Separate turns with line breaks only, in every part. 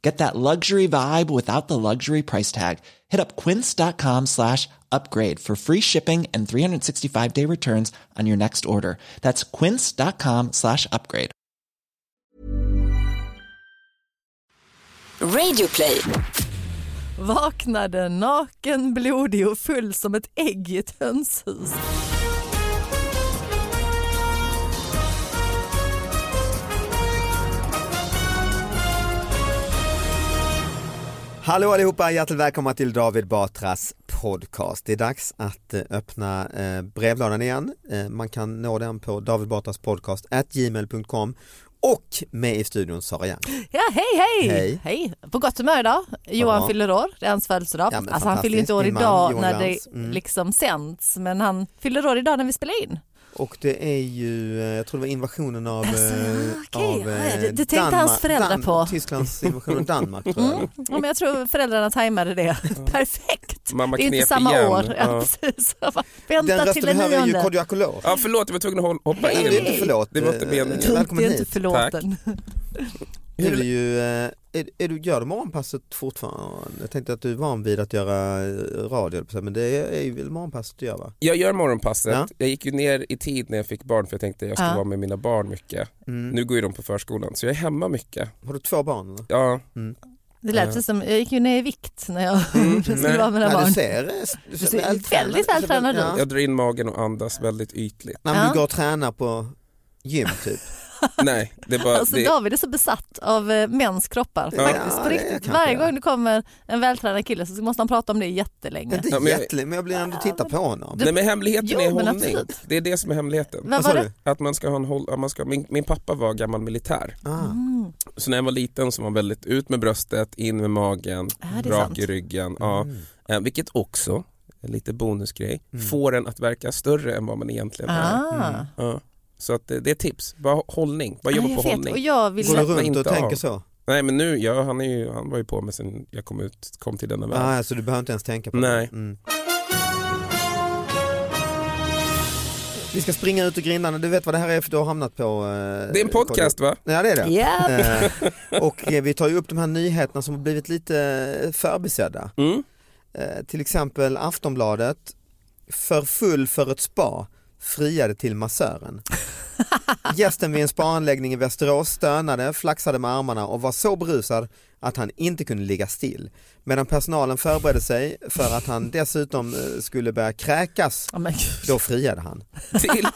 Get that luxury vibe without the luxury price tag. Hit up quince.com slash upgrade for free shipping and 365-day returns on your next order. That's quince.com slash upgrade.
Radioplay.
Vaknade naken, blodig och full som ett ägg i ett hönshus.
Hallå allihopa, hjärtligt välkomna till David Batras podcast. Det är dags att eh, öppna eh, brevlådan igen. Eh, man kan nå den på David Batras podcast at gmail.com och med i studion Sara Young.
Ja, hej, hej
Hej.
På gott humör idag. Johan
Ja.
fyller år, det är hans födelsedag.
Ja, men
alltså han fyller ju inte år
fantastiskt. Min man,
idag
Johan
när
Glans.
det
Mm.
liksom sänds men han fyller år idag när vi spelar in.
Och det är ju, eh, jag tror det var invasionen av, eh,
Alltså, okej.
av eh,
Ja, ja, det- det tänkte hans föräldrar
Dan-
på.
Tysklands invasion av Danmark tror jag.
Mm. Ja, men jag tror föräldrarna tajmade det perfekt.
Mamma
det är inte
knep
samma
igen.
år. Ja.
Ja.
precis. Jag bara,
Den
Vänta
rösten
till den
vi hör är ju
nionde.
Kodjo Akolor.
Ja, förlåt, jag var tvungen att hol- hoppa
Nej,
in.
det är inte förlåt.
Det var inte
Eh,
ben.
Välkommen
det är inte
hit.
förlåten.
Är du ju, eh, är, är du, gör du morgonpasset fortfarande? Jag tänkte att du är van vid att göra eh, radio, höll jag på att säga, men det är ju väl morgonpasset du gör va?
Jag gör morgonpasset.
Ja.
Jag gick ju ner i tid när jag fick barn för jag tänkte jag ska
Ja.
vara med mina barn mycket.
Mm.
Nu går ju de på förskolan så jag är hemma mycket.
Har du två barn? Eller?
Ja,
Det lät ju som, jag gick ju ner i vikt när jag skulle
Mm. nej.
vara med mina
Nej,
barn.
du ser, eh, du
ser väldigt vältränad
vältränad
ut.
Ja.
jag drar in magen och andas väldigt ytligt.
Nej, men
Ja.
du går och tränar på gym typ.
Nej, det är bara...
Alltså
det,
David är så besatt av eh, mäns kroppar
Ja,
faktiskt. På
det
riktigt.
kanske
Varje
jag är.
gång det kommer en vältränad kille så måste han prata om det jättelänge.
Inte
Ja, men jag-
jättelänge, men jag blir ändå titta på honom.
nej men hemligheten
Jo,
är
men
hållning.
absolut.
Det är det som är hemligheten.
Vad
sa
var
du?
det?
Att man ska ha en håll, ja, man ska, min, min pappa var gammal militär.
Ah.
Mm.
Så när jag var liten så var han väldigt ut med bröstet, in med magen,
Ja, det är
rak
sant.
i ryggen. Ja.
Mm.
Eh, Vilket också, en lite bonusgrej,
Mm.
får en att verka större än vad man egentligen är.
Ah.
Ja. Så att eh, det, det är tips, bara hållning, bara
Ja,
jobba
Ah, jag
på
vet.
hållning.
Och jag vill...
Går du
slappna
runt
inte
och tänker
av.
så?
Nej men nu, ja, han, är ju, han var ju på mig sen jag kom ut, kom till denna värld.
Ah, alltså, du behöver inte ens tänka på
Nej.
det? Mm. Vi ska springa ut ur grindarna, du vet vad det här är för du har hamnat på... eh,
Det är en podcast va?
Ja det är det.
Ja,
Eh, och eh, vi tar ju upp de här nyheterna som har blivit lite eh, förbisedda.
Mm.
Eh, till exempel Aftonbladet, för full för ett spa, friade till massören. Gästen vid en spaanläggning i Västerås stönade, flaxade med armarna och var så berusad att han inte kunde ligga still. Medan personalen förberedde sig för att han dessutom eh, skulle börja kräkas,
Ja, men gud.
då friade han.
Till.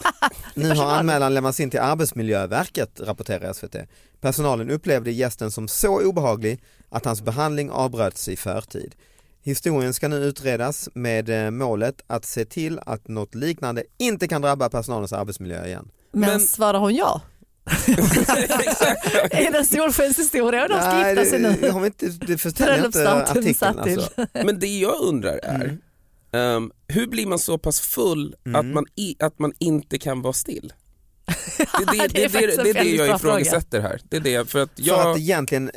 Nu har anmälan lämnats in till Arbetsmiljöverket, rapporterar SVT. Personalen upplevde gästen som så obehaglig att hans behandling avbröts i förtid. Historien ska nu utredas med eh, målet att se till att något liknande inte kan drabba personalens arbetsmiljö igen.
Men,
Men-
svarar hon ja?
Exakt.
Är det en solskenshistoria och de ska gifta sig
det,
nu?
har vi inte, det förtäljer inte
Bröllopsnatten
artikeln.
satt till.
Alltså.
Men det jag undrar är,
Mm.
ehm, hur blir man så pass full att, man i, att man inte kan vara still? Det,
Det är
det, det, det,
faktiskt en
det, det är det
väldigt
jag
bra fråga.
ifrågasätter här. Det är det, för att
För att
jag,
egentligen,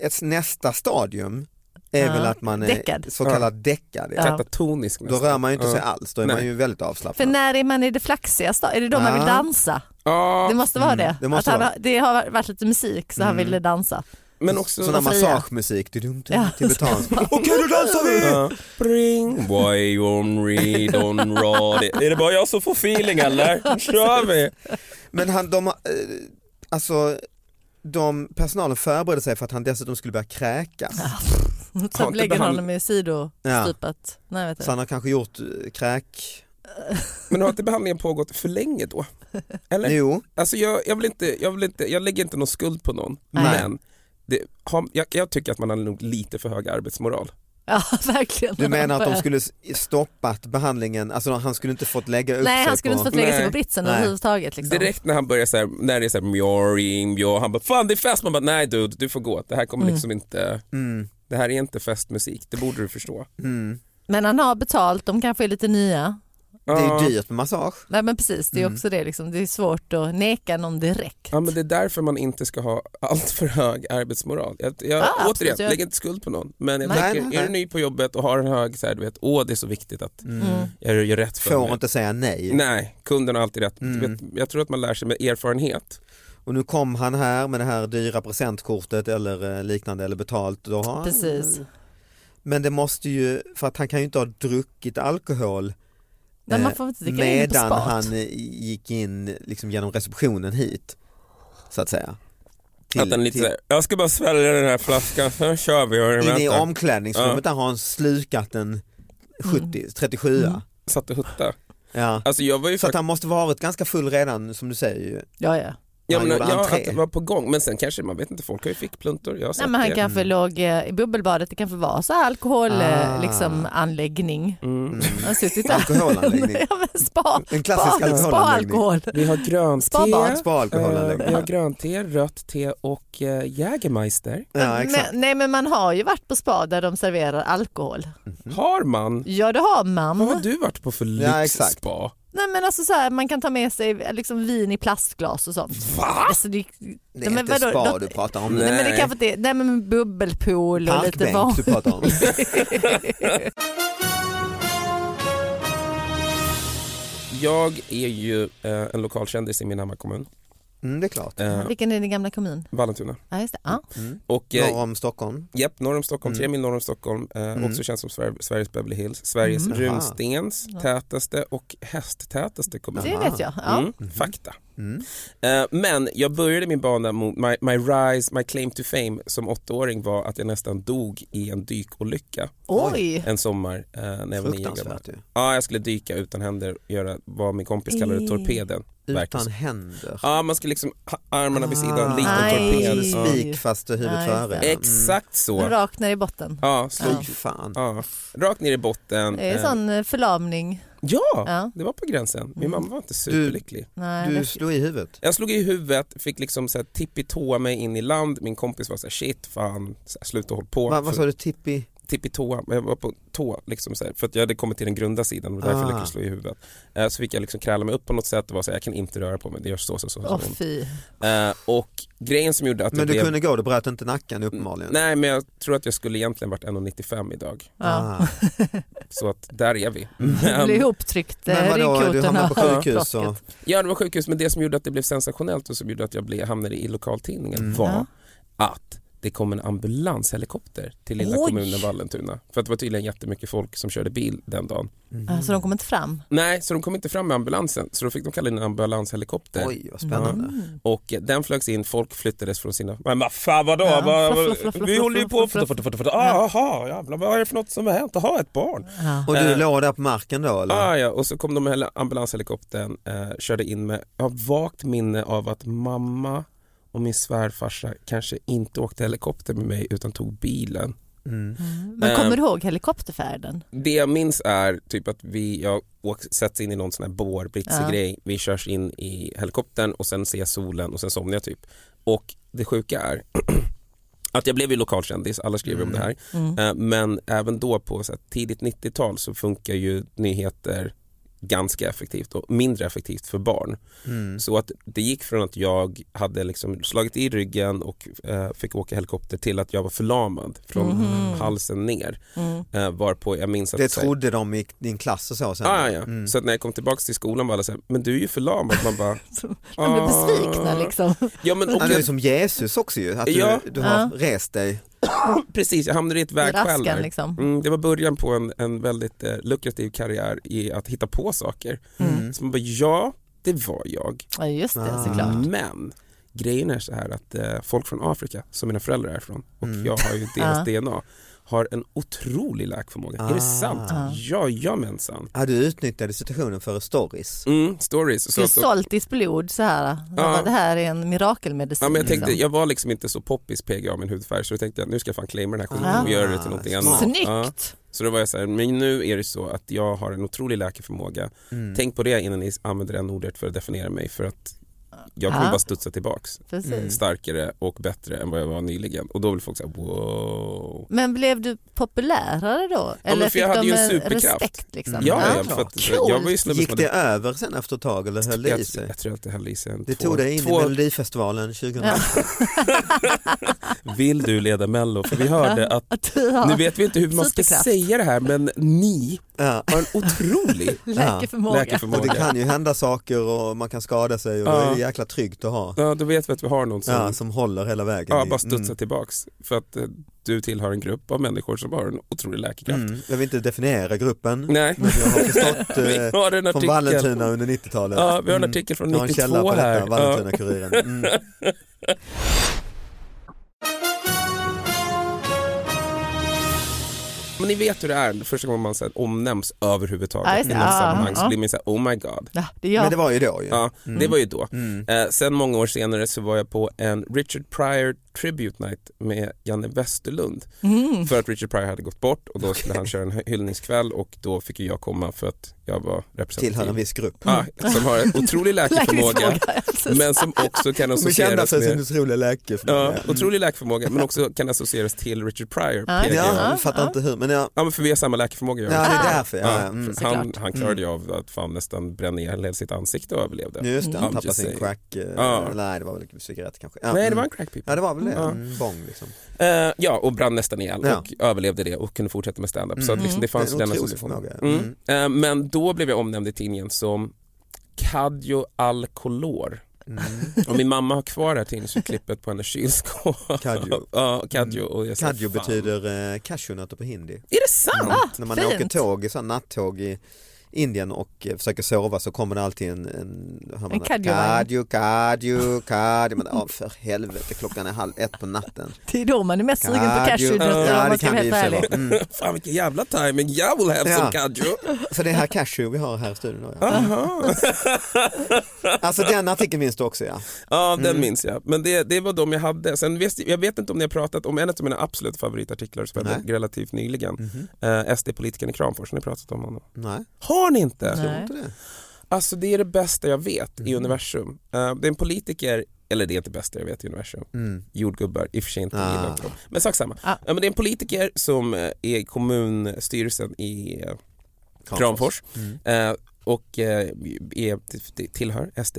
eh, ett nästa stadium är
Ja.
väl att man är
Däckad.
så kallad däckad.
Ja.
Katatonisk
Då
nästan.
rör man ju inte
Ja.
sig alls, då är man
Nej.
ju väldigt
För
avslappnad.
när är man i det flaxigaste? Är det då man
Ja.
vill dansa?
Ja,
Det måste vara
Mm,
det.
det måste
att han,
vara.
har- det har varit lite musik så han ville dansa.
men också...
Sån här
Varför igen?
massagemusik, du-dum,
Ja.
tibetansk. Okej, då dansar vi!
Ja. Bring why on read on rad. Är det bara jag som får feeling eller? Nu kör vi!
Men han, de, eh, alltså, de, personalen förberedde sig för att han dessutom skulle börja kräkas.
Har
Sen
inte
lägger
han-
honom i sidostupat. Nej, vet
Så
du.
han har kanske gjort eh, kräk...
Men har inte behandlingen pågått för länge då? Eller?
Jo,
Alltså jag, jag, vill inte, jag, vill inte, jag lägger inte någon skuld på någon,
Nej.
men det, har, jag, jag tycker att man har nog lite för hög arbetsmoral.
Ja, verkligen.
du menar att de skulle s- stoppat behandlingen, alltså han skulle inte fått lägga upp
Nej,
sig
han skulle
på...
inte fått lägga sig
Nej.
på britsen
Nej.
överhuvudtaget. Liksom.
Direkt när han börjar så här, när det är så här mjöring, mjö, han bara fan det är fest, man bara nej dude du får gå, det här kommer liksom inte,
Mm,
det här är inte festmusik, det borde du förstå.
mm.
Men han har betalt, de kanske är lite nya.
Det är
Ja.
ju dyrt med massage.
Nej men precis, det är
Mm.
också det. Liksom. Det är svårt att neka någon direkt.
Ja men det är därför man inte ska ha allt för hög arbetsmoral. Jag, jag,
Ah, absolut,
återigen,
jag-
lägg inte skuld på någon. Men jag
Nej.
tänker,
Nej, nej,
är du
nej.
ny på jobbet och har en hög, så här, du vet, åh det är så viktigt att
Mm.
jag gör rätt för
Får
mig.
inte säga nej.
Nej, kunden har alltid rätt. Du
Mm.
Vet, jag tror att man lär sig med erfarenhet.
Och nu kom han här med det här dyra presentkortet eller eh, liknande eller betalt. Då har han,
Precis.
Men det måste ju, för att han kan ju inte ha druckit alkohol
Nej,
eh,
man får inte dricka in på
medan
spat.
han eh, gick in liksom genom receptionen hit. Så att säga. Till-
att den är lite
till-
så här, jag ska bara svälja den här flaskan, sen kör vi. Och
in i
vänta."
omklädningsrummet där har han slukat en 70,
Mm.
37
Satt och hutta.
ja.
Alltså jag var ju
Så att
faktiskt,
han måste varit ganska full redan som du säger ju.
Ja, ja.
jag
han
menar,
gjorde
ja,
entré.
att det var på gång. Men sen kanske, man vet inte, folk har ju fickpluntor. Jag har
Nej,
sett
men han
det.
kanske låg eh, i bubbelbadet, det kanske var så här alkohol,
mm. Ah.
eh, liksom, anläggning.
Mm.
Han har suttit där.
Alkoholanläggning.
ja, men spa,
En klassisk
spa, spa
alkoholanläggning.
alkohol.
Vi har
Spabad.
grönt
Spa-alkoholanläggning.
Eh, vi har grönt-te, rött te och eh, Jägermeister.
Ja, exakt.
Men, nej men man har ju varit på spa där de serverar alkohol.
Har man?
Ja det har man.
Vad har du varit på för
Mm. Ja, exakt.
lyxspa?
Nej men alltså så här, man kan ta med sig liksom vin i plastglas och sånt. Va? Alltså, det,
Det är
men
inte
vadå,
spa
då-
du pratar om.
Nej,
nu.
men det kanske inte är, nej men bubbelpool och lite
Parkbänk typ.
van.
du pratar om.
Jag är ju eh, en lokalkändis i min hemmakommun,
Mm, det är klart.
eh,
Vilken är din gamla kommun?
Vallentuna.
Ja just det. Ja.
Och, eh,
Norr om Stockholm.
Japp, norr om Stockholm,
Mm.
tre mil norr om Stockholm, eh, också känns som Sver- Sveriges Beverly Hills, Sveriges
Mm.
runstens tätaste och hästtätaste kommun.
Det vet jag. Ja.
Mm.
Mhm.
Fakta. Eh, men jag började min bana mot, my, my rise, my claim to fame som åttaåring var att jag nästan dog i en dykolycka
Oj.
en sommar eh, när jag var nio år gammal.
Fruktansvärt ju.
Ja, jag skulle dyka utan händer och göra vad min kompis kallade
Ej.
torpeden. Verkligen
Utan
så.
händer.
Ja, man skulle liksom ha armarna vid sidan, liten
Aj.
torped.
Som en
Ja.
Spik fast huvudet
Ja, just
före.
det.
ja. Mm.
Exakt så.
Rakt ner i botten.
Ja, slog
Fy fan.
Ja, rakt ner i botten.
Det är en
Eh,
sån eh, förlamning.
Ja,
Ja. Mm.
det var på gränsen. Min mamma var inte superlycklig.
Nej,
Du
det-
slog i huvudet.
Jag slog i huvudet, fick liksom så här tippitåa mig in i land. Min kompis var så här, shit, fan, så här, sluta håll på.
Va, vad sa du, tippi?
Tippitåa, men jag var på tå liksom så här, för att jag hade kommit till den grunda sidan och
Ah.
därför lyckades jag slå i huvudet. Eh, så fick jag liksom kräla mig upp på något sätt och var så här, jag kan inte röra på mig, det gör så så så. så
Åh
ont.
fy.
eh, och grejen som gjorde att det
Men du
blev...
kunde gå, du bröt inte nacken uppenbarligen.
Mm. Nej men jag tror att jag skulle egentligen varit 1,95 idag.
Ja.
Ah.
Så att där är vi.
Du
Men-
blir ihoptryckt eh,
Men vadå, du
ryggkotorna
hamnade på
och
sjukhus och...
plåsket.
Ja det var sjukhus men det som gjorde att det blev sensationellt och som gjorde att jag blev, hamnade i lokaltidningen var att det kom en ambulanshelikopter till lilla
Oj.
kommunen Vallentuna. För att det var tydligen jättemycket folk som körde bil den dagen.
Mm.
Ja, Så de kom inte fram.
Nej, så de kom inte fram med ambulansen så då fick de kalla in en ambulanshelikopter.
Oj, vad spännande.
Mm.
Och eh, den flögs in, folk flyttades från sina... Men vad fan vadå?
Ja,
Vad-
fluff, fluff, fluff, fluff,
vi
fluff,
håller ju på...
fluff,
Jaha,
fluff,
jävlar vad är det för något som har hänt? Jaha, ett barn.
Ja.
Och du
Eh.
låg där på marken då eller?
Ah, ja, och så kom de med hela ambulanshelikoptern, eh, körde in med, jag har vagt minne av att mamma och min svärfarsa kanske inte åkte helikopter med mig utan tog bilen.
Mm.
Men kommer du ihåg helikopterfärden?
Det jag minns är typ att vi, jag åks, sätts in i någon sån här bårbritse
Ja.
grej, vi körs in i helikoptern och sen ser jag solen och sen somnar jag typ. Och det sjuka är att jag blev ju lokalkändis, alla skriver om det här.
Mm.
Eh, Men även då på så här, tidigt 90-tal så funkar ju nyheter ganska effektivt och mindre effektivt för barn.
Mm.
Så att det gick från att jag hade liksom slagit i ryggen och eh, fick åka helikopter till att jag var förlamad från
Mhm.
halsen ner.
Mm.
Eh, varpå jag minns att
Det
så här-
trodde de i din klass och så sen. Mm.
Ah, ja, ja. Så att när jag kom tillbaka till skolan var alla så här, men du är ju förlamad. Man bara,
De blir
"Ah."
besvikna liksom.
Ja, men, och
Ja, du är
jag,
som Jesus också ju, att du,
Ja.
du har
Ja.
rest dig.
precis, jag hamnade i ett vägskäl.
Raskan,
där.
liksom.
Mm, det var början på en, en väldigt eh, lukrativ karriär i att hitta på saker.
Mm.
Mm.
Så man bara, ja, det var jag.
Ja just
Ah.
det såklart.
Men grejen är så här att eh, folk från Afrika, som mina föräldrar är från, och jag har ju
Mm. Ja.
deras DNA, har en otrolig läkförmåga. Är det sant?
Ah.
Jajamensan.
Ja, du utnyttjade situationen för stories.
Mm, stories.
Du har
att-
sålt ditt blod så här.
Ja.
Det här är en mirakelmedicin.
Ja, men jag, tänkte,
liksom.
jag var liksom inte så poppis PGA av min hudfärg så då tänkte jag nu ska jag fan claima den här skiten och
Ah,
göra det till någonting annat. Ja.
Snyggt!
Så då var jag så här, men nu är det så att jag har en otrolig läkarförmåga.
Mm.
Tänk på det innan ni använder det här ordet för att definiera mig för att jag kommer
Ja.
bara studsa tillbaks
Precis.
Mm. starkare och bättre än vad jag var nyligen och då blir folk så här wow.
Men blev du populärare då?
men
Eller
för
fick
jag hade
de
ju en
en
superkraft.
respekt? Liksom?
Ja, ja,
Bra.
för att, så
Coolt.
jag var ju snubben
Gick
som
det
hade-
över sen efter ett tag eller höll det i
jag,
sig?
jag tror att det höll i sig en
Det
två-
tog dig in i
två,
Melodifestivalen 2000.
Vill du leda mello? För vi hörde att
Att du har
nu vet vi inte hur man ska
superkraft.
säga det här men ni
Ja.
har en otrolig
läkeförmåga.
Och det
läkarförmåga.
kan ju hända saker och man kan skada sig och då är det jäkla tryggt att ha.
Ja, då vet vi att vi har någon som,
Ja, som håller hela vägen.
ja,
i-
bara studsar tillbaks för att eh, du tillhör en grupp av människor som har en otrolig läkekraft.
Mm. Jag vill inte definiera gruppen.
Nej,
Men jag har förstått
vi
eh,
har en
från
artikel.
Vallentuna under 90-talet.
Ja, vi har en
Mm.
artikel från
Jag har en
92
källa på
här.
detta,
Ja.
Vallentuna-Kuriren. Mm.
Men ni vet hur det är första gången man så här, omnämns
Ja,
överhuvudtaget
just
i
det.
något
Ja,
sammanhang
ja.
så blir man så här, oh my god.
Ja, det
Men
gör
det var ju då ju.
Ja,
Mm.
det var ju då. Eh, sen många år senare så var jag på en Richard Pryor Tribute Night med Janne Westerlund.
Mm.
För att Richard Pryor hade gått bort och då skulle han köra en hy- hyllningskväll och då fick ju jag komma för att jag var representativ.
Tillhör en viss grupp.
Mm.
Mm.
Ja, som har en otrolig läkarförmåga
Läkeförmåga, alltså.
men som också kan
Som är kända
associeras
för eh. sin
med
otroliga läke.
Ja, otrolig läkarförmåga men också kan associeras till Richard Pryor.
Ja.
PGA.
Mm. Ja,
Ja.
jag fattar inte hur. Men ja,
men för vi har samma läkarförmåga.
ja
jag
det
och Richard.
är därför. Ja,
Ja,
ja, mm.
för han,
Såklart.
han klarade ju av att fan nästan bränna ihjäl hela sitt ansikte och överlevde.
Just det,
I'm
han tappade
just
sin
saying.
crack. eh,
Ja.
Nej, det var väl cigarett kanske. Ja,
Nej det
mm.
var en crack pipa.
Ja, det var väl det.
Ja.
En Bong liksom.
Eh, ja, och brann nästan ihjäl
Ja. Mm.
och överlevde det och kunde fortsätta med stand-up. Så att liksom, det fanns
Det är en
den
otrolig
associationen.
förmåga.
Mm. Eh, men då blev jag omnämnd i tidningen som Cadjo Alcolor.
Mm.
Och min mamma har kvar det här tidningsurklippet på hennes kylskåp.
Cadjo.
ja, Cadjo. Och jag sa,
Kadjo
"Fan."
betyder eh, cashewnötter på hindi. Mm.
Är det sant?
När man
Ah, fint.
åker tåg, så här nattåg i Indien och eh, försöker sova så kommer det alltid en, en, hör man
En
där,
kadjo-vagn.
kadjo, kadjo, kadjo. Men ja, för helvete, klockan är halv ett på natten.
Det är då man är mest sugen på cashewnötter om
Ja,
man
det
ska
kan
vara
det i och
helt
för sig
ärlig.
vara. Mm.
Fan vilken jävla timing jag vill ha
Ja.
som Cadjo.
Så det är här cashew vi har här i studion då, ja. Alltså den artikeln minns du också ja.
Ja, den minns jag. Men det, det var de jag hade. Sen vet, jag vet inte om ni har pratat om en av mina absolut favoritartiklar som jag
Nej.
hade relativt nyligen. Eh, SD-politikern i Kramfors, har ni pratat om honom?
Nej,
Har ni inte?
Nej.
inte det.
Alltså det är det bästa jag vet
Mm.
i universum. Eh, det är en politiker, eller det är inte det bästa jag vet i universum. Jordgubbar, i och för sig inte
Mm. Ah.
gillar inte dem. Men sak samma.
Ah.
Ja, men det är en politiker som eh, är i kommunstyrelsen i eh, Kramfors
Mm.
eh, och eh, är, t- tillhör SD.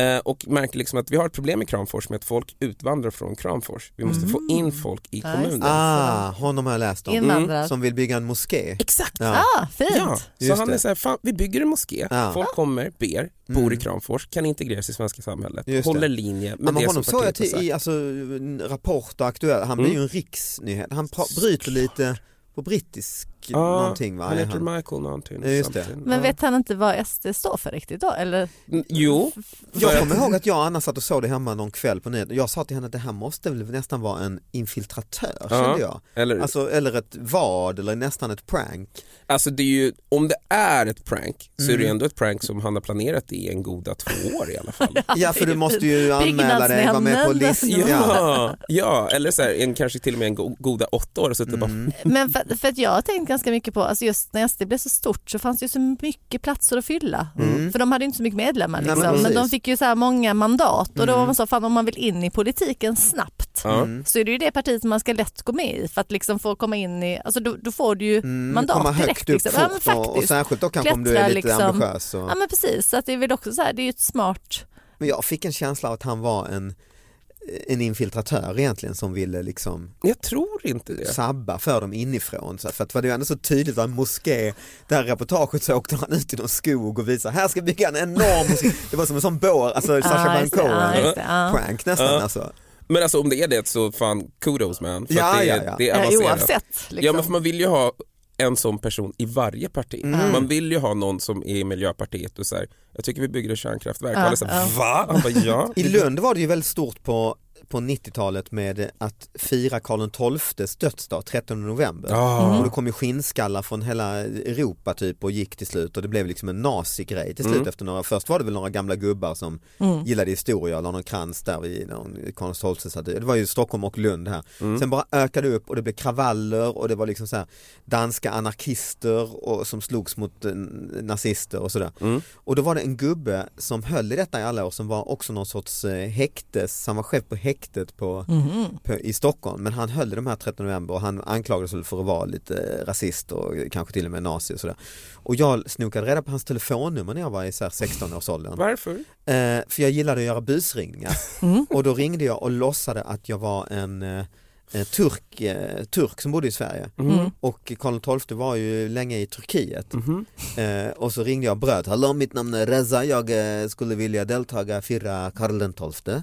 Eh, och märker liksom att vi har ett problem i Kramfors med att folk utvandrar från Kramfors. Vi måste få in folk i
Ja, just det.
kommunen.
Ah, honom har jag läst om. Mm.
Invandrare.
Som vill bygga en moské.
Exakt!
Ja.
Ah, fint.
Ja, så
Just
han
det.
är så här, fan, vi bygger en moské,
Ja. Mm.
folk kommer, ber, bor i Kramfors, kan integreras i svenska samhället,
Just det.
håller linje med
Men,
det
honom
som
såg jag
partiet har
till, i
sagt. Mm.
alltså, Rapport och Aktuellt, han blir ju en riksnyhet. Han pra- bryter lite på brittisk
Ja,
någonting va?
Han
är
heter Michael någonting.
Ja, just det.
samtidigt.
Men
Ja.
vet han inte vad SD står för riktigt då? Eller?
Mm, Jo,
Jag kommer ihåg att jag och Anna satt och såg det hemma någon kväll på nyheten. Jag sa till henne att det här måste väl nästan vara en infiltratör
Ja.
kände jag.
eller, alltså,
Alltså, eller ett vad eller nästan ett prank.
det är ju, om det är ett prank så
Mm.
är det ju ändå ett prank som han har planerat i en goda två år i alla fall.
Ja för du måste ju anmäla dig, vara med på
Byggnadsnämnden.
listan. Ja. Mm.
ja, eller så här, en, kanske till och med en go goda åtta år och suttit och bara
Men för, jag, för att jag har tänkt ganska mycket på, alltså just när SD blev så stort så fanns det ju så mycket platser att fylla. För de hade ju inte så mycket medlemmar
Mm. Nej, men
liksom. men, de
precis. Mm.
fick ju så här många mandat och då var man så, fan om man vill in i politiken snabbt
Ja.
så är det ju det partiet som man ska lätt gå med i för att liksom få komma in i, alltså då, då får du ju mandat
Mm, komma
direkt.
högt upp
liksom. ja, men
fort och, och
faktiskt.
särskilt då kanske om du
Klättra,
är lite
liksom.
ambitiös. Och...
Ja men precis, så att det är väl också så här, det är ju ett smart
Men jag fick en känsla av att han var en, en infiltratör egentligen som ville liksom
Jag tror inte det.
sabba för dem inifrån. Så att- För att det var ju ändå så tydligt, det var en moské, det här reportaget så åkte han ut i någon skog och visade, här ska vi bygga en enorm moské. Det var som en sån bår, alltså Sacha
Ja,
Baron
just det, ja,
Cohen
just det, ja.
prank nästan
Ja.
alltså.
Men alltså om det är det så fan kudos man. För
Ja,
att det, är-
ja, ja.
det är
Ja,
avancerat.
eh, oavsett. Liksom.
Ja men för man vill ju ha en sån person i varje parti. Man vill ju ha någon som är i Miljöpartiet och säger jag tycker vi bygger ett kärnkraftverk. och alla säger va? Han bara, ja.
I Lund var det ju väldigt stort på, på 90-talet med att fira Karl XIIs dödsdag 13 november. Och det kom ju skinnskallar från hela Europa typ och gick till slut och det blev liksom en nazigrej till slut efter några, först var det väl några gamla gubbar som gillade historia och la någon krans där vid någon Karl XII det var ju Stockholm och Lund här. Sen bara ökade det upp och det blev kravaller och det var liksom så här danska anarkister och, som slogs mot eh, nazister och sådär. Och då var det en gubbe som höll i detta i alla år som var också någon sorts eh, häktes, han var chef på häktet på, på, i Stockholm men han höll i de här 13 november och han anklagades väl för att vara lite eh, rasist och kanske till och med nazi och sådär. Och jag snokade reda på hans telefonnummer när jag var i så här 16-årsåldern.
Varför?
Eh, för jag gillade att göra busringningar och då ringde jag och låtsade att jag var en eh, eh, turk, eh, turk som bodde i Sverige och Karl XII var ju länge i Turkiet eh, och så ringde jag och bröt, hallå mitt namn är Reza, jag eh, skulle vilja deltaga fira Karl XII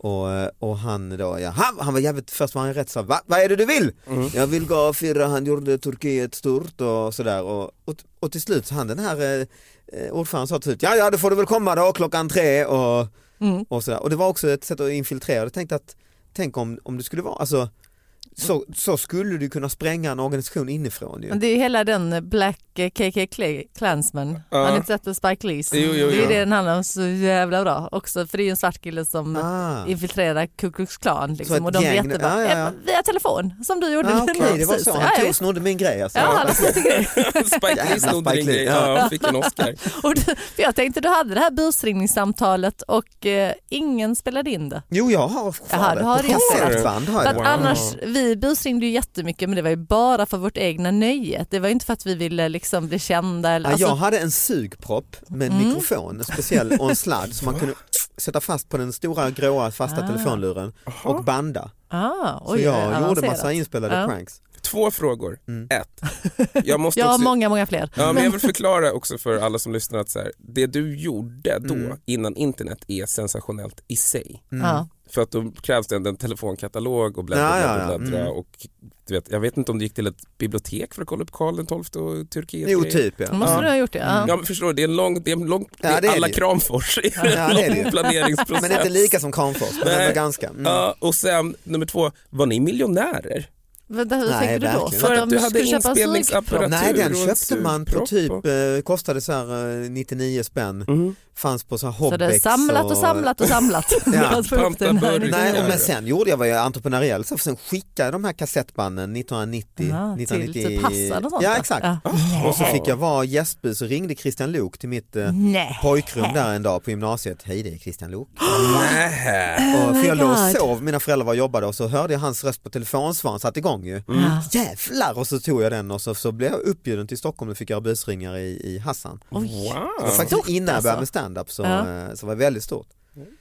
och, eh, och han då, ja, han, han var jävligt, först var han rätt så här, Va, vad är det du vill? Jag vill gå och fira, han gjorde Turkiet stort och sådär och, och, och till slut så han den här eh, eh, ordföranden sa till slut, ja ja då får du väl komma då klockan tre och,
Mm.
och sådär och det var också ett sätt att infiltrera, jag tänkte att tänk om, om det skulle vara, alltså så, så skulle du kunna spränga en organisation inifrån ju.
Men det är ju hela den Black eh, KK Cla- Klansman.
Ja.
Har ni inte sett det? Spike Lees?
Jo, jo,
det är
jo.
ju det den handlar om så jävla bra också för det är ju en svart kille som
Ah.
infiltrerar Ku Klux Klan
Så ett
liksom, och de vet
gäng-
jättebra.
ja, ja, ja.
Via telefon som du gjorde.
Ah, Okej, det var
Precis.
så,
Ja,
han tog,
visst.
snodde min grej alltså.
Ja, han har grej.
Spike Lee
Jävla
snodde din
Spike Lee,
grej.
ja.
Ja, fick en Oscar.
Och du- för jag tänkte du hade det här busringningssamtalet och eh, ingen spelade in det.
Jo jag har
Jaha,
kvar
du
det,
har
på
det, jag ser.
konsertband har
För
jag
att
det.
annars, vi busringde ju jättemycket men det var ju bara för vårt egna nöje. Det var ju inte för att vi ville liksom bli kända. Eller,
Ja,
alltså, Mm.
jag hade en sugpropp med en mikrofon, en speciell och en sladd som man kunde sätta fast på den stora gråa fasta telefonluren och banda.
ah,
Så
oj,
jag gjorde
avancerat.
massa inspelade
Ja.
pranks.
Två frågor. Ett. Jag måste
Jag har
också...
många, många fler.
Ja, men jag vill förklara också för alla som lyssnar att så här, det du gjorde då innan internet är sensationellt i sig.
Mm.
Ja.
För att då krävs det ändå en telefonkatalog och
Ja, ja,
bläddra, bläddra,
ja. Mm.
bläddra och du vet, jag vet inte om du gick till ett bibliotek för att kolla upp Karl XII och Turkiet.
Jo typ ja. Mm.
Då måste du ha gjort det. Ja.
Ja men förstår du, det är en lång, det är en lång,
Ja,
det
det är
är alla
det ju.
Kramfors, det
Ja, det är det
är
ju.
en lång planeringsprocess.
Men inte lika som Kramfors, men
Nej.
ändå ganska. Mm.
Ja, och sen nummer två, var ni miljonärer?
Vänta, hur
Nej,
tänker du då?
verkligen.
För
de
att du hade
skulle köpa en sug-
inspelningsapparatur
Nej den
och Mhm. en
köpte man på
sugpropp
typ,
och-
eh, kostade så här eh, 99 spänn. fanns på så här
Så det är
hobbex
samlat och samlat och samlat. för att få ihop den här.
Panta
Nej,
burkar.
och men sen gjorde jag vad jag är entreprenöriell så sen skickade jag de här kassettbanden 1990,
Aha, till- typ
1990
till Passad och sånt,
Ja
va?
exakt.
Ja.
Och så fick jag vara gästbud så ringde Christian Lok till mitt eh,
Nej.
pojkrum där en dag på gymnasiet. Hej det är Christian Lok.
Nähä.
Och
Oh
för
my
jag låg och
God.
sov, mina föräldrar var och jobbade och så hörde jag hans röst på telefonsvararen satte igång ju.
Mm. Ja.
Jävlar! Och så tog jag den och så, så blev jag uppbjuden till Stockholm och fick göra busringare i, i Hassan. Det var
Wow.
faktiskt
Stort
innan jag började
alltså.
med stand-up så,
Ja.
eh, så var det väldigt stort.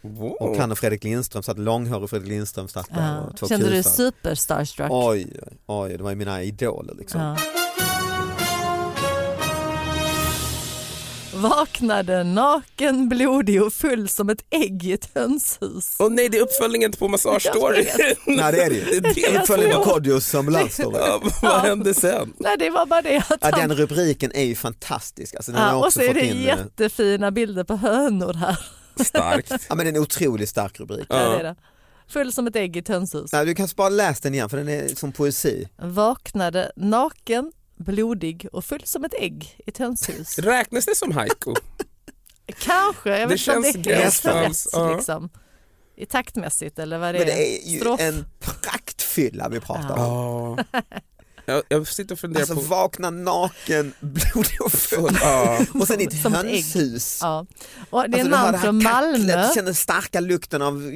Och
wow.
han och Fredrik Lindström satt, långhårig Fredrik Lindström satt där
Ja.
och två
Kände du dig
kusar.
super starstruck?
Oj, oj, oj, det var ju mina idoler liksom.
Ja. Vaknade naken, blodig och full som ett ägg i ett hönshus.
Och nej, det är uppföljningen på Massage
Jag
Story.
Nej det är det ju.
Det är
Uppföljning på
så.
Kodjos ambulansstory.
Ja, Vad hände sen?
Nej det var bara det att
Ja,
han...
den rubriken är ju fantastisk. Alltså, den har
Ja,
jag
och
också
så är
fått
det
in. eh,
jättefina bilder på hönor här.
Starkt.
Ja, men det är en otroligt stark rubrik.
Ja. det är det. Full som ett ägg i ett hönshus.
Nej, du kanske bara läs den igen för den är som poesi.
Vaknade naken, blodig och full som ett ägg i ett hönshus.
Räknas det som haiku?
Kanske, jag
Det
vet inte om det
känns
är helt
gränslands,
rätt.
ja.
Liksom. I taktmässigt eller vad det är.
Men det är ju
Strof.
en praktfylla vi pratar om.
Ja. Jag, jag sitter och funderar
Alltså
på...
vakna naken, blodig och full
Ja.
och sen i ett
Som ett ägg.
hönshus.
Ja. Och det är
Alltså,
en
du har
man
det här
från
kacklet,
Malmö.
Du känner den starka lukten av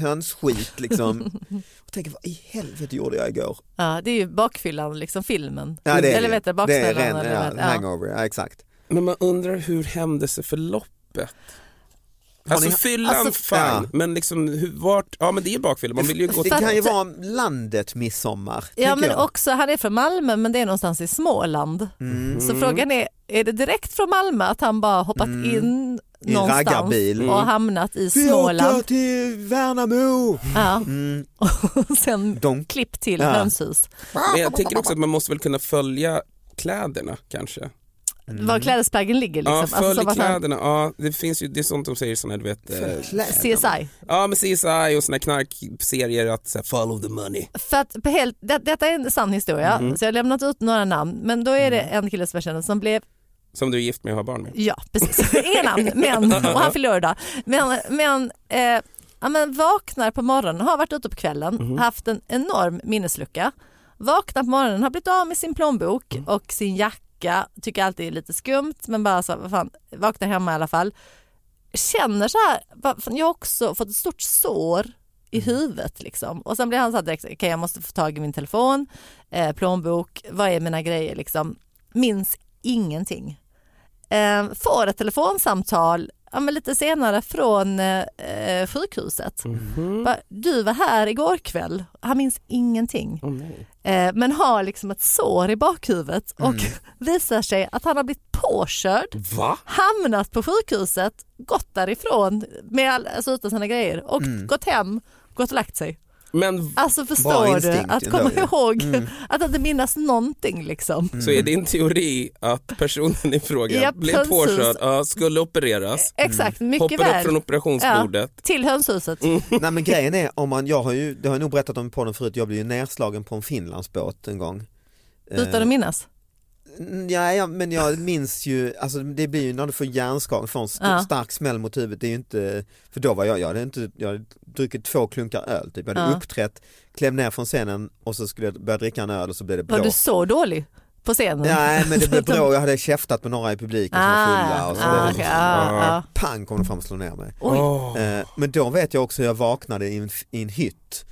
hönsskit liksom. och tänker vad i helvete gjorde jag igår?
Ja, det är ju bakfyllan, liksom filmen.
Ja, det är
eller
det.
vet du,
Det är
baksmällan.
ren,
eller vad
ja,
heter det? ja.
hangover, ja exakt.
Men man undrar hur händelseförloppet? Alltså
ni-
fyllan,
alltså,
fine,
ja.
men liksom hur, vart, ja men det är ju bakfylla, man vill ju
Det
gå till...
kan ju vara landet midsommar.
ja,
tänker
men
jag.
också, han är från Malmö men det är någonstans i Småland.
Mm.
Så frågan är, är det direkt från Malmö att han bara hoppat in
Mm. I en
någonstans
raggarbil. Mm.
och hamnat i
Vi åker
Småland?
till Värnamo!
Ja. Och sen
De-
klipp till
Mm. Ja.
hönshus.
Men jag tänker också att man måste väl kunna följa kläderna kanske?
Var
Mm.
klädesplaggen ligger liksom.
Ja,
Alltså,
följ
som att han-
kläderna, ja det finns ju, det är sånt de säger såna här, du vet, eh,
CSI.
ja men CSI och såna här knarkserier att så här, follow the money.
För att på helt, det, detta är en sann historia, så jag har lämnat ut några namn. Men då är det en kille som jag känner som blev
Som du är gift med och har barn med.
Ja, precis. Inga namn, men, och han fyller år idag. Men, men, eh, ja, men vaknar på morgonen, har varit ute på kvällen, haft en enorm minneslucka. Vaknar på morgonen, har blivit av med sin plånbok och sin jacka. Tycker alltid det är lite skumt, men bara så, vad fan, vaknar hemma i alla fall. Känner så här, vad fan, jag har också fått ett stort sår i huvudet liksom. Och sen blir han så här direkt, okej jag måste få tag i min telefon, eh, plånbok, vad är mina grejer liksom. Minns ingenting eh, får ett telefonsamtal ja, men lite senare från eh, eh, sjukhuset.
Mhm.
Bara, Du var här igår kväll. Han minns ingenting. eh, men har liksom ett sår i bakhuvudet och
Mm.
visar sig att han har blivit påkörd
Va?
hamnat på sjukhuset, gått därifrån med all, alltså utan sina grejer och
Mm.
gått hem, gått och lagt sig.
Men
Alltså
Bra
förstår du
instinkt
att
ändå
komma
ju.
ihåg
Mm.
att inte minnas någonting liksom.
så är din teori att personen i fråga
Japp,
blev
precis.
påkörd, ja, skulle opereras,
Exakt, mycket
hoppade Mm. upp
väl.
från operationsbordet,
till hönshuset.
Nej men grejen är, om man, jag har ju, det har jag nog berättat om på den förut, jag blev ju nerslagen på en Finlandsbåt en gång.
Utan att minnas?
Mm, Ja, ja men jag minns ju, alltså det blir ju när du får hjärnskakning, får en st-
Ja.
stark smäll mot huvudet, det är ju inte, för då var jag, jag hade, inte, jag hade druckit två klunkar öl, typ. jag hade
Ja.
uppträtt, klev ner från scenen och så skulle jag börja dricka en öl och så blev det
Var
blå.
du så dålig på scenen?
Nej men det blev blå, jag hade käftat med några i publiken som var fulla och så blev
ah,
det
okej,
liksom,
ah, ah.
pang kom de fram och slog ner mig.
Oj.
Eh, Men då vet jag också hur jag vaknade i en, i en hytt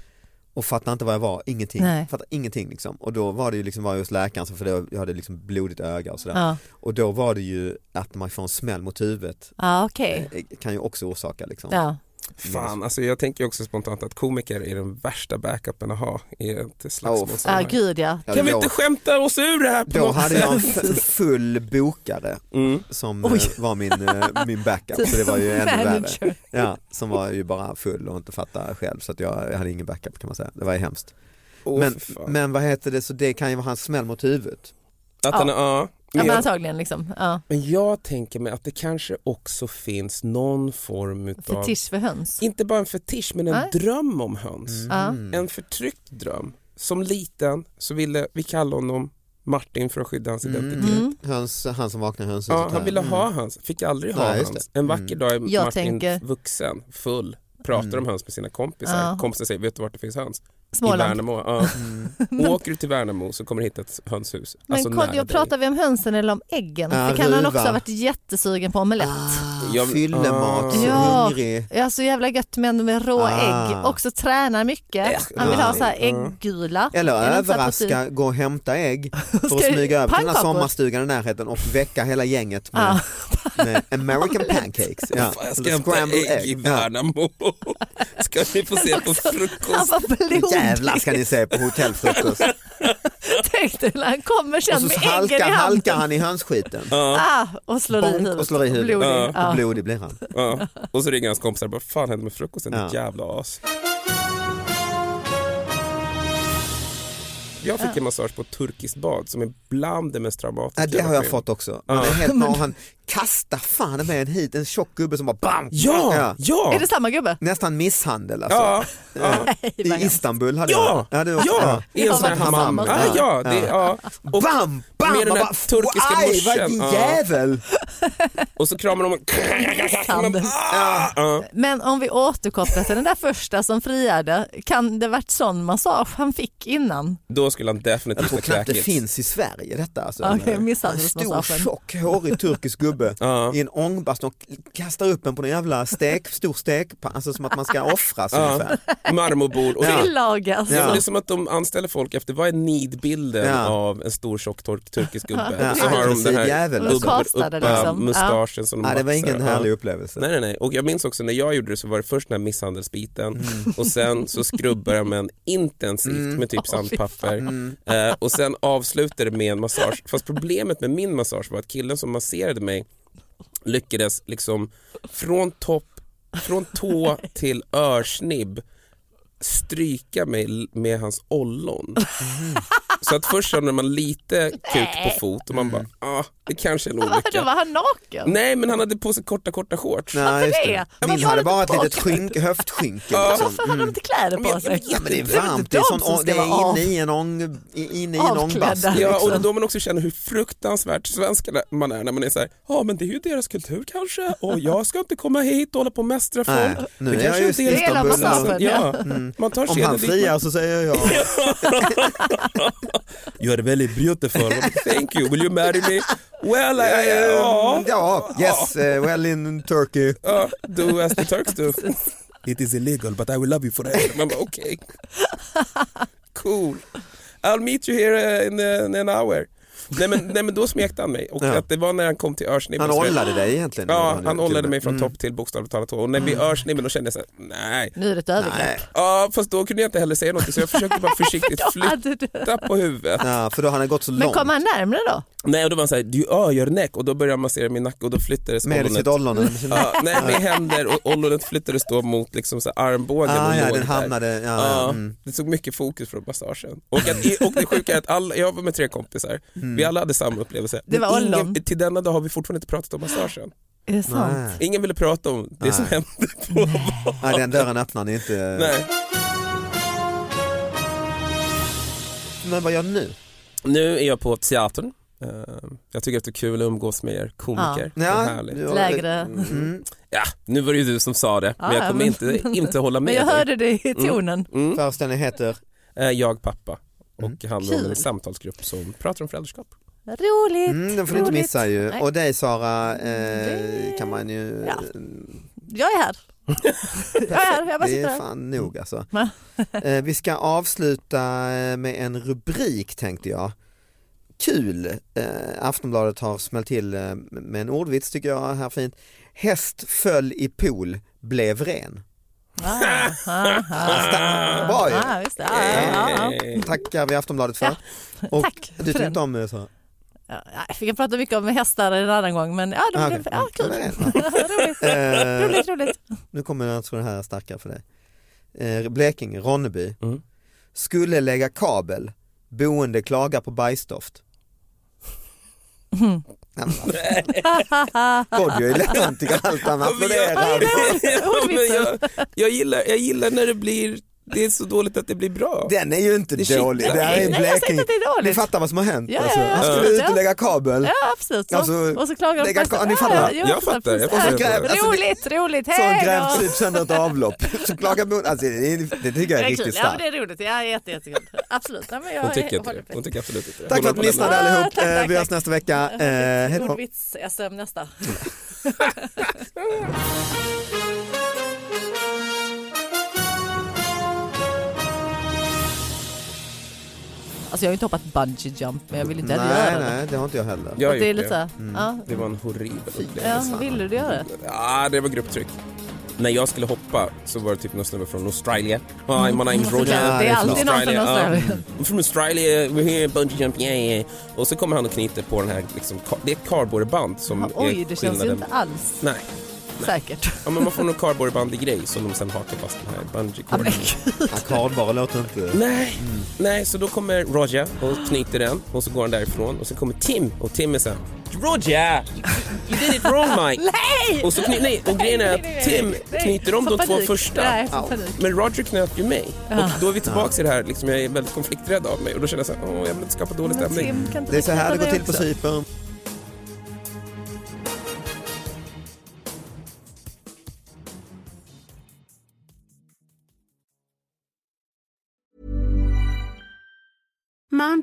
och fattade inte vad jag var, ingenting.
Nej.
Fattade ingenting liksom. Och då var det ju liksom, var jag hos läkaren så för då, jag hade liksom blodigt öga och sådär.
Ja,
Och då var det ju att man får en smäll mot huvudet
ah, okej.
eh, kan ju också orsaka liksom.
Ja.
Fan, alltså jag tänker också spontant att komiker är den värsta backupen att ha i ett
Ja,
slagsmål.
Ah, gud ja.
Ja,
kan vi
då-
inte skämta oss ur det här på
Då
något
hade
sätt?
jag en f- full bokare
Mm.
som
Oj.
eh, var min, eh, min backup så det var ju ännu värre.
Manager.
Ja, som var ju bara full och inte fattade själv så att jag hade ingen backup kan man säga. Det var ju hemskt.
Åh,
men,
fy fan.
men vad heter det, så det kan ju vara hans smäll mot huvudet.
att han, ja.
Ja,
Men,
men
jag,
antagligen liksom. Ja.
men jag tänker mig att det kanske också finns någon form utav,
Fetisch för höns.
inte bara en fetisch men en
Nej.
dröm om höns.
Ja.
Mm.
En förtryckt dröm. Som liten så ville vi kalla honom Martin för att skydda hans
Mm.
identitet.
Mm.
Höns, han som vaknar i hönshuset.
Ja,
här.
han ville ha höns, fick aldrig ha
Mm. Nej, just Mm.
höns. En vacker dag är
Jag
Martin
tänker-
vuxen, full, pratar om höns med sina kompisar.
Ja.
Kompisar säger, vet du vart det finns höns? I
Småland.
Värnamo. Ja.
Mm.
Åker du till Värnamo så kommer du hitta ett hönshus.
Men
alltså nära
Kodjo,
dig.
pratar vi om hönsen eller om äggen?
Ja,
det kan han
ruva.
också ha varit jättesugen på omelett.
Ah,
Jag-
Fyllemat,
Ah.
så
Ja.
hungrig.
Jag är så jävla gött med ändå med råa
Ah.
ägg. Också tränar mycket.
Äsch,
Han vill ha så här
ja.
ägggula.
Eller
Är det inte så här
överraska, gå och hämta ägg för att
typ- Ska-
smyga över till den här
pannkakor.
sommarstugan i närheten och väcka hela gänget med,
Ja.
med American pancakes. Ja.
Fan, jag ska
Eller
hämta
scrambled
ägg i
egg. Ja.
Värnamo. Ska ni få se på
Han
frukost.
var blodig.
Jävlar ska ni se på hotellfrukost.
Tänk dig när han kommer sen
Och
med
så
äggen i
halkar, halkar
handen.
han i hönsskiten.
Ah, och slår i
Bonk
huvudet.
och slår i huvudet.
Blodig.
Ja.
Ja.
Och blodig blir han.
Ja. Och så ringer hans kompisar och bara, fan hände med frukosten?
Ja.
Ditt jävla as. Jag fick en massage på ett turkiskt bad som är bland det mest traumatiska.
Ja, det har
varit med
jag
om.
fått också. Han är helt norr, han kastar fan med en hit, en tjock gubbe som bara bam!
Ja, ja,
Är det samma gubbe?
Nästan misshandel alltså.
ja, ja.
I Istanbul hade
Ja!
jag. det var-
ja, i en sån här
Ja, hammam.
hammam. Ah, ja, det, ja. Och,
Bam, bam!
Med den
Man
där
bara,
turkiska
"Aj,
morsan."
Vad din
Ja.
jävel!
och så kramar de och...
Sanden.
Ah, ah.
Men om vi återkopplar till den där första som friade, kan det varit sån massage han fick innan?
Då skulle han definitivt
Jag tror
ha
knappt det
kräkits.
finns i Sverige detta. Alltså.
Okej,
en stor
misshandelsmassagen.
tjock hårig turkisk gubbe
Ja.
i en ångbastu och kastar upp en på en jävla stek, stor stekpanna, alltså som att man ska offras ungefär.
Marmorbord. Och så,
Tillagas.
Ja. men
Ja.
Det är som att de anställer folk efter, vad är nidbilden
Ja.
av en stor tjock tor- turkisk gubbe?
Ja,
Och så har de
aggressiv
den här
jävel, alltså.
upp, upp,
Kastade liksom.
mustaschen som de
Nej, det var
maxar.
ingen
Ja.
härlig upplevelse.
Nej, nej, nej. Och jag minns också när jag gjorde det så var det först den här misshandelsbiten
Mm.
och sen så skrubbade jag med en intensivt med typ sandpapper
Mm.
eh, och sen avslutade det med en massage. Fast problemet med min massage var att killen som masserade mig lyckades liksom från topp, från tå till örsnibb stryka mig l- med hans ollon.
Mm.
Så att först känner man lite kuk på fot och man bara, ah, det kanske är en
Mm. Då var
olycka.
han naken.
Nej men han hade på sig korta korta shorts.
Nej, just
det? Ja,
Min
varför har
hade
du
bara ett
inte
litet skynk, höftskynke. Liksom.
Varför hade de inte kläder på sig?
mm. Ja, men det är
väl
varmt,
inte
det är,
de
sån,
som
det
ska vara
är
av.
inne i en, ång, i- inne i en
Avklädda.
ångbastu.
Ja,
liksom.
och då man också känner hur fruktansvärt svenskar man är när man är så här, ja men det är ju deras kultur kanske och jag ska inte komma hit och hålla på och mästra
Nej,
folk.
nu
det
är jag
kanske
ju
inte
i Istanbul. Hela
Alltså,
massagen,
ja. Man tar
Mm. Om
seden
han
dit
friar så säger jag ja.
man- You are very beautiful, thank you, will you marry me? Well, I, I, ja.
"Mm, ja, yes, eh, well in Turkey.
Ja, do as the Turks do. It is illegal but I will love you forever. Man bara okej. Cool. I'll meet you here eh, in, eh, in an hour. Nej men, nej men då smekte han mig och
Ja.
att det var när han kom till örsnibben
Han
som jag-
ollade dig egentligen. Mm.
Ja,
gjorde
han
ju till
ollade
och
mig
med.
från topp till bokstavligt talat och när vi
Mm.
örsnibben då kände jag såhär, nej.
Nu är det ett övergrepp.
Nej.
Ja fast då kunde jag inte heller säga något så jag försökte bara försiktigt
Då
flytta
hade du...
på huvudet.
Ja, för då hade han gått så
Men
långt
kom han närmre då?
Nej och då var han såhär, du gör näck och då började han massera min nacke och då flyttades
med
ollonet.
sitt ollon. eller med sin-
Ja, nej med händer och ollonet flyttades då mot liksom så här armbågen
Ah,
och
ja,
låg
den
där.
hamnade, ja,
Ja,
ja, mm.
Det tog mycket fokus från massagen. Och, att, och det sjuka är att alla, jag var med tre kompisar,
Mm.
vi alla hade samma upplevelse.
Det var
Men ingen-
ollon.
Till denna dag har vi fortfarande inte pratat om massagen.
Är det sant?
Nej.
Ingen ville prata om det som hände på
Nej, den dörren öppnar ni inte.
Nej.
Men vad gör du nu?
Nu är jag på teatern. Eh, Jag tycker att det är kul att umgås med er komiker. Det är
Ja,
härligt.
du har-
Lägre.
Mm.
Ja, nu var det ju du som sa det, men
Ja,
jag kommer
men-
inte, inte hålla
Men
med
jag
dig.
hörde det i tonen.
Mm.
Föreställningen heter?
Eh, Jag, pappa
Mm.
och handlar om en
Kul.
samtalsgrupp som pratar om föräldraskap.
Roligt.
Mm, den får du inte
roligt.
missa ju.
Nej.
Och dig Sara eh, kan man ju...
Ja. Jag är här. jag är här, jag bara
Det
sitter
är
här.
fan nog alltså.
Va?
Eh, Vi ska avsluta eh, med en rubrik tänkte jag. Kul! Eh, Aftonbladet har smällt till eh, med en ordvits tycker jag här fint. Häst föll i pool, blev ren.
Ah, ah, ah.
Bra ju.
Ah, visst, ah, ah, ah.
Eh,
Tackar vi Aftonbladet för.
Ja,
Och
tack för
du tyckte
den.
om det så?
Ja, jag kan prata mycket om hästar en annan gång men ja, de
Ah,
blev,
okej.
ja kul.
Mm,
roligt.
Eh,
roligt, roligt.
nu kommer jag tror det här är starkare för dig. Eh, Blekinge, Ronneby.
Mm.
Skulle lägga kabel, boende klagar på bajsdoft.
Mm.
Nej, men vad Kodjo är ledsen, tycker allt han
Ja, men jag-
applåderar.
Ja, men jag- Jag gillar- jag gillar när det blir det är så dåligt att det blir bra.
Den är ju inte
Det är
dålig.
skit.
Det här är
Nej,
jag säger
Blekinge.
inte att det är dåligt.
Ni fattar vad som har hänt.
Ja, ja,
alltså.
ja,
Han skulle
absolut,
ut och
ja.
lägga kabel.
Ja absolut. Så,
Alltså,
och så klagar de
lägga
på
ka- ni
Ja,
fattar.
ja, jo,
Jag fattar, jag
precis.
fattar.
Ja,
Alltså, det-
roligt, roligt,
Så
hej
han
då!
grävt typ sönder ett avlopp. Så klagar på, alltså, det, är- det tycker jag är
Det är
riktigt
kul. Ja men
starkt.
det är roligt, ja, jätte, jättekul. Absolut. Ja, men jag
Hon tycker, inte
håller
det.
på.
Hon tycker absolut inte det.
Tack
Hon
för att ni
håller på
lyssnade
den.
lämna.
allihop.
Ah, tack,
Eh,
tack,
Vi hörs
tack.
nästa vecka. Eh, Hej då.
Ordvits-SM nästa. Alltså jag har ju inte hoppat bungee jump men jag vill inte heller
Nej,
göra det.
nej, Mm. det har inte jag heller.
Jag har
det är
gjort
lite
det.
såhär, ja.
det var en horribel upplevelse.
ja, vill du göra det?
Ja, det var grupptryck. När jag skulle hoppa så var det typ någon snubbe från Australia. Hi, my name's Roger.
Mm. Ja, det är alltid någon från
Australia,
Australien.
ja. I'm from Australia, we're here, bungee jump, yeah, yeah. Och så kommer han och knyter på den här, liksom, ka- det är ett cardboardband som
Ja,
är
Oj, det känns ju
Mm. skillnaden.
inte alls
Nej,
säkert.
ja, men man får någon cardboardbandig-grej som de sen hakar fast den här bungee
Ja, men
corden.
gud.
Arkadbara låter inte...
Nej, nej, så då kommer Roger och knyter den och så går han därifrån och så kommer Tim och Tim är såhär Roger! You did it wrong Mike!
Nej!
Och, så kny- nej, och grejen är
Nej, nej,
att
nej,
Tim
nej, nej.
knyter om
Får
de två
panik.
första.
Nej, jag får panik.
Men Roger knöt ju mig. Och då är vi tillbaka i det här, liksom, jag är väldigt konflikträdd av mig och då känner jag såhär, åh jag vill inte skapa dålig
Men
stämning.
Tim, kan inte
Det är
du
så här det
knäppa
går
mig
till på
också?
Cypern.
Mom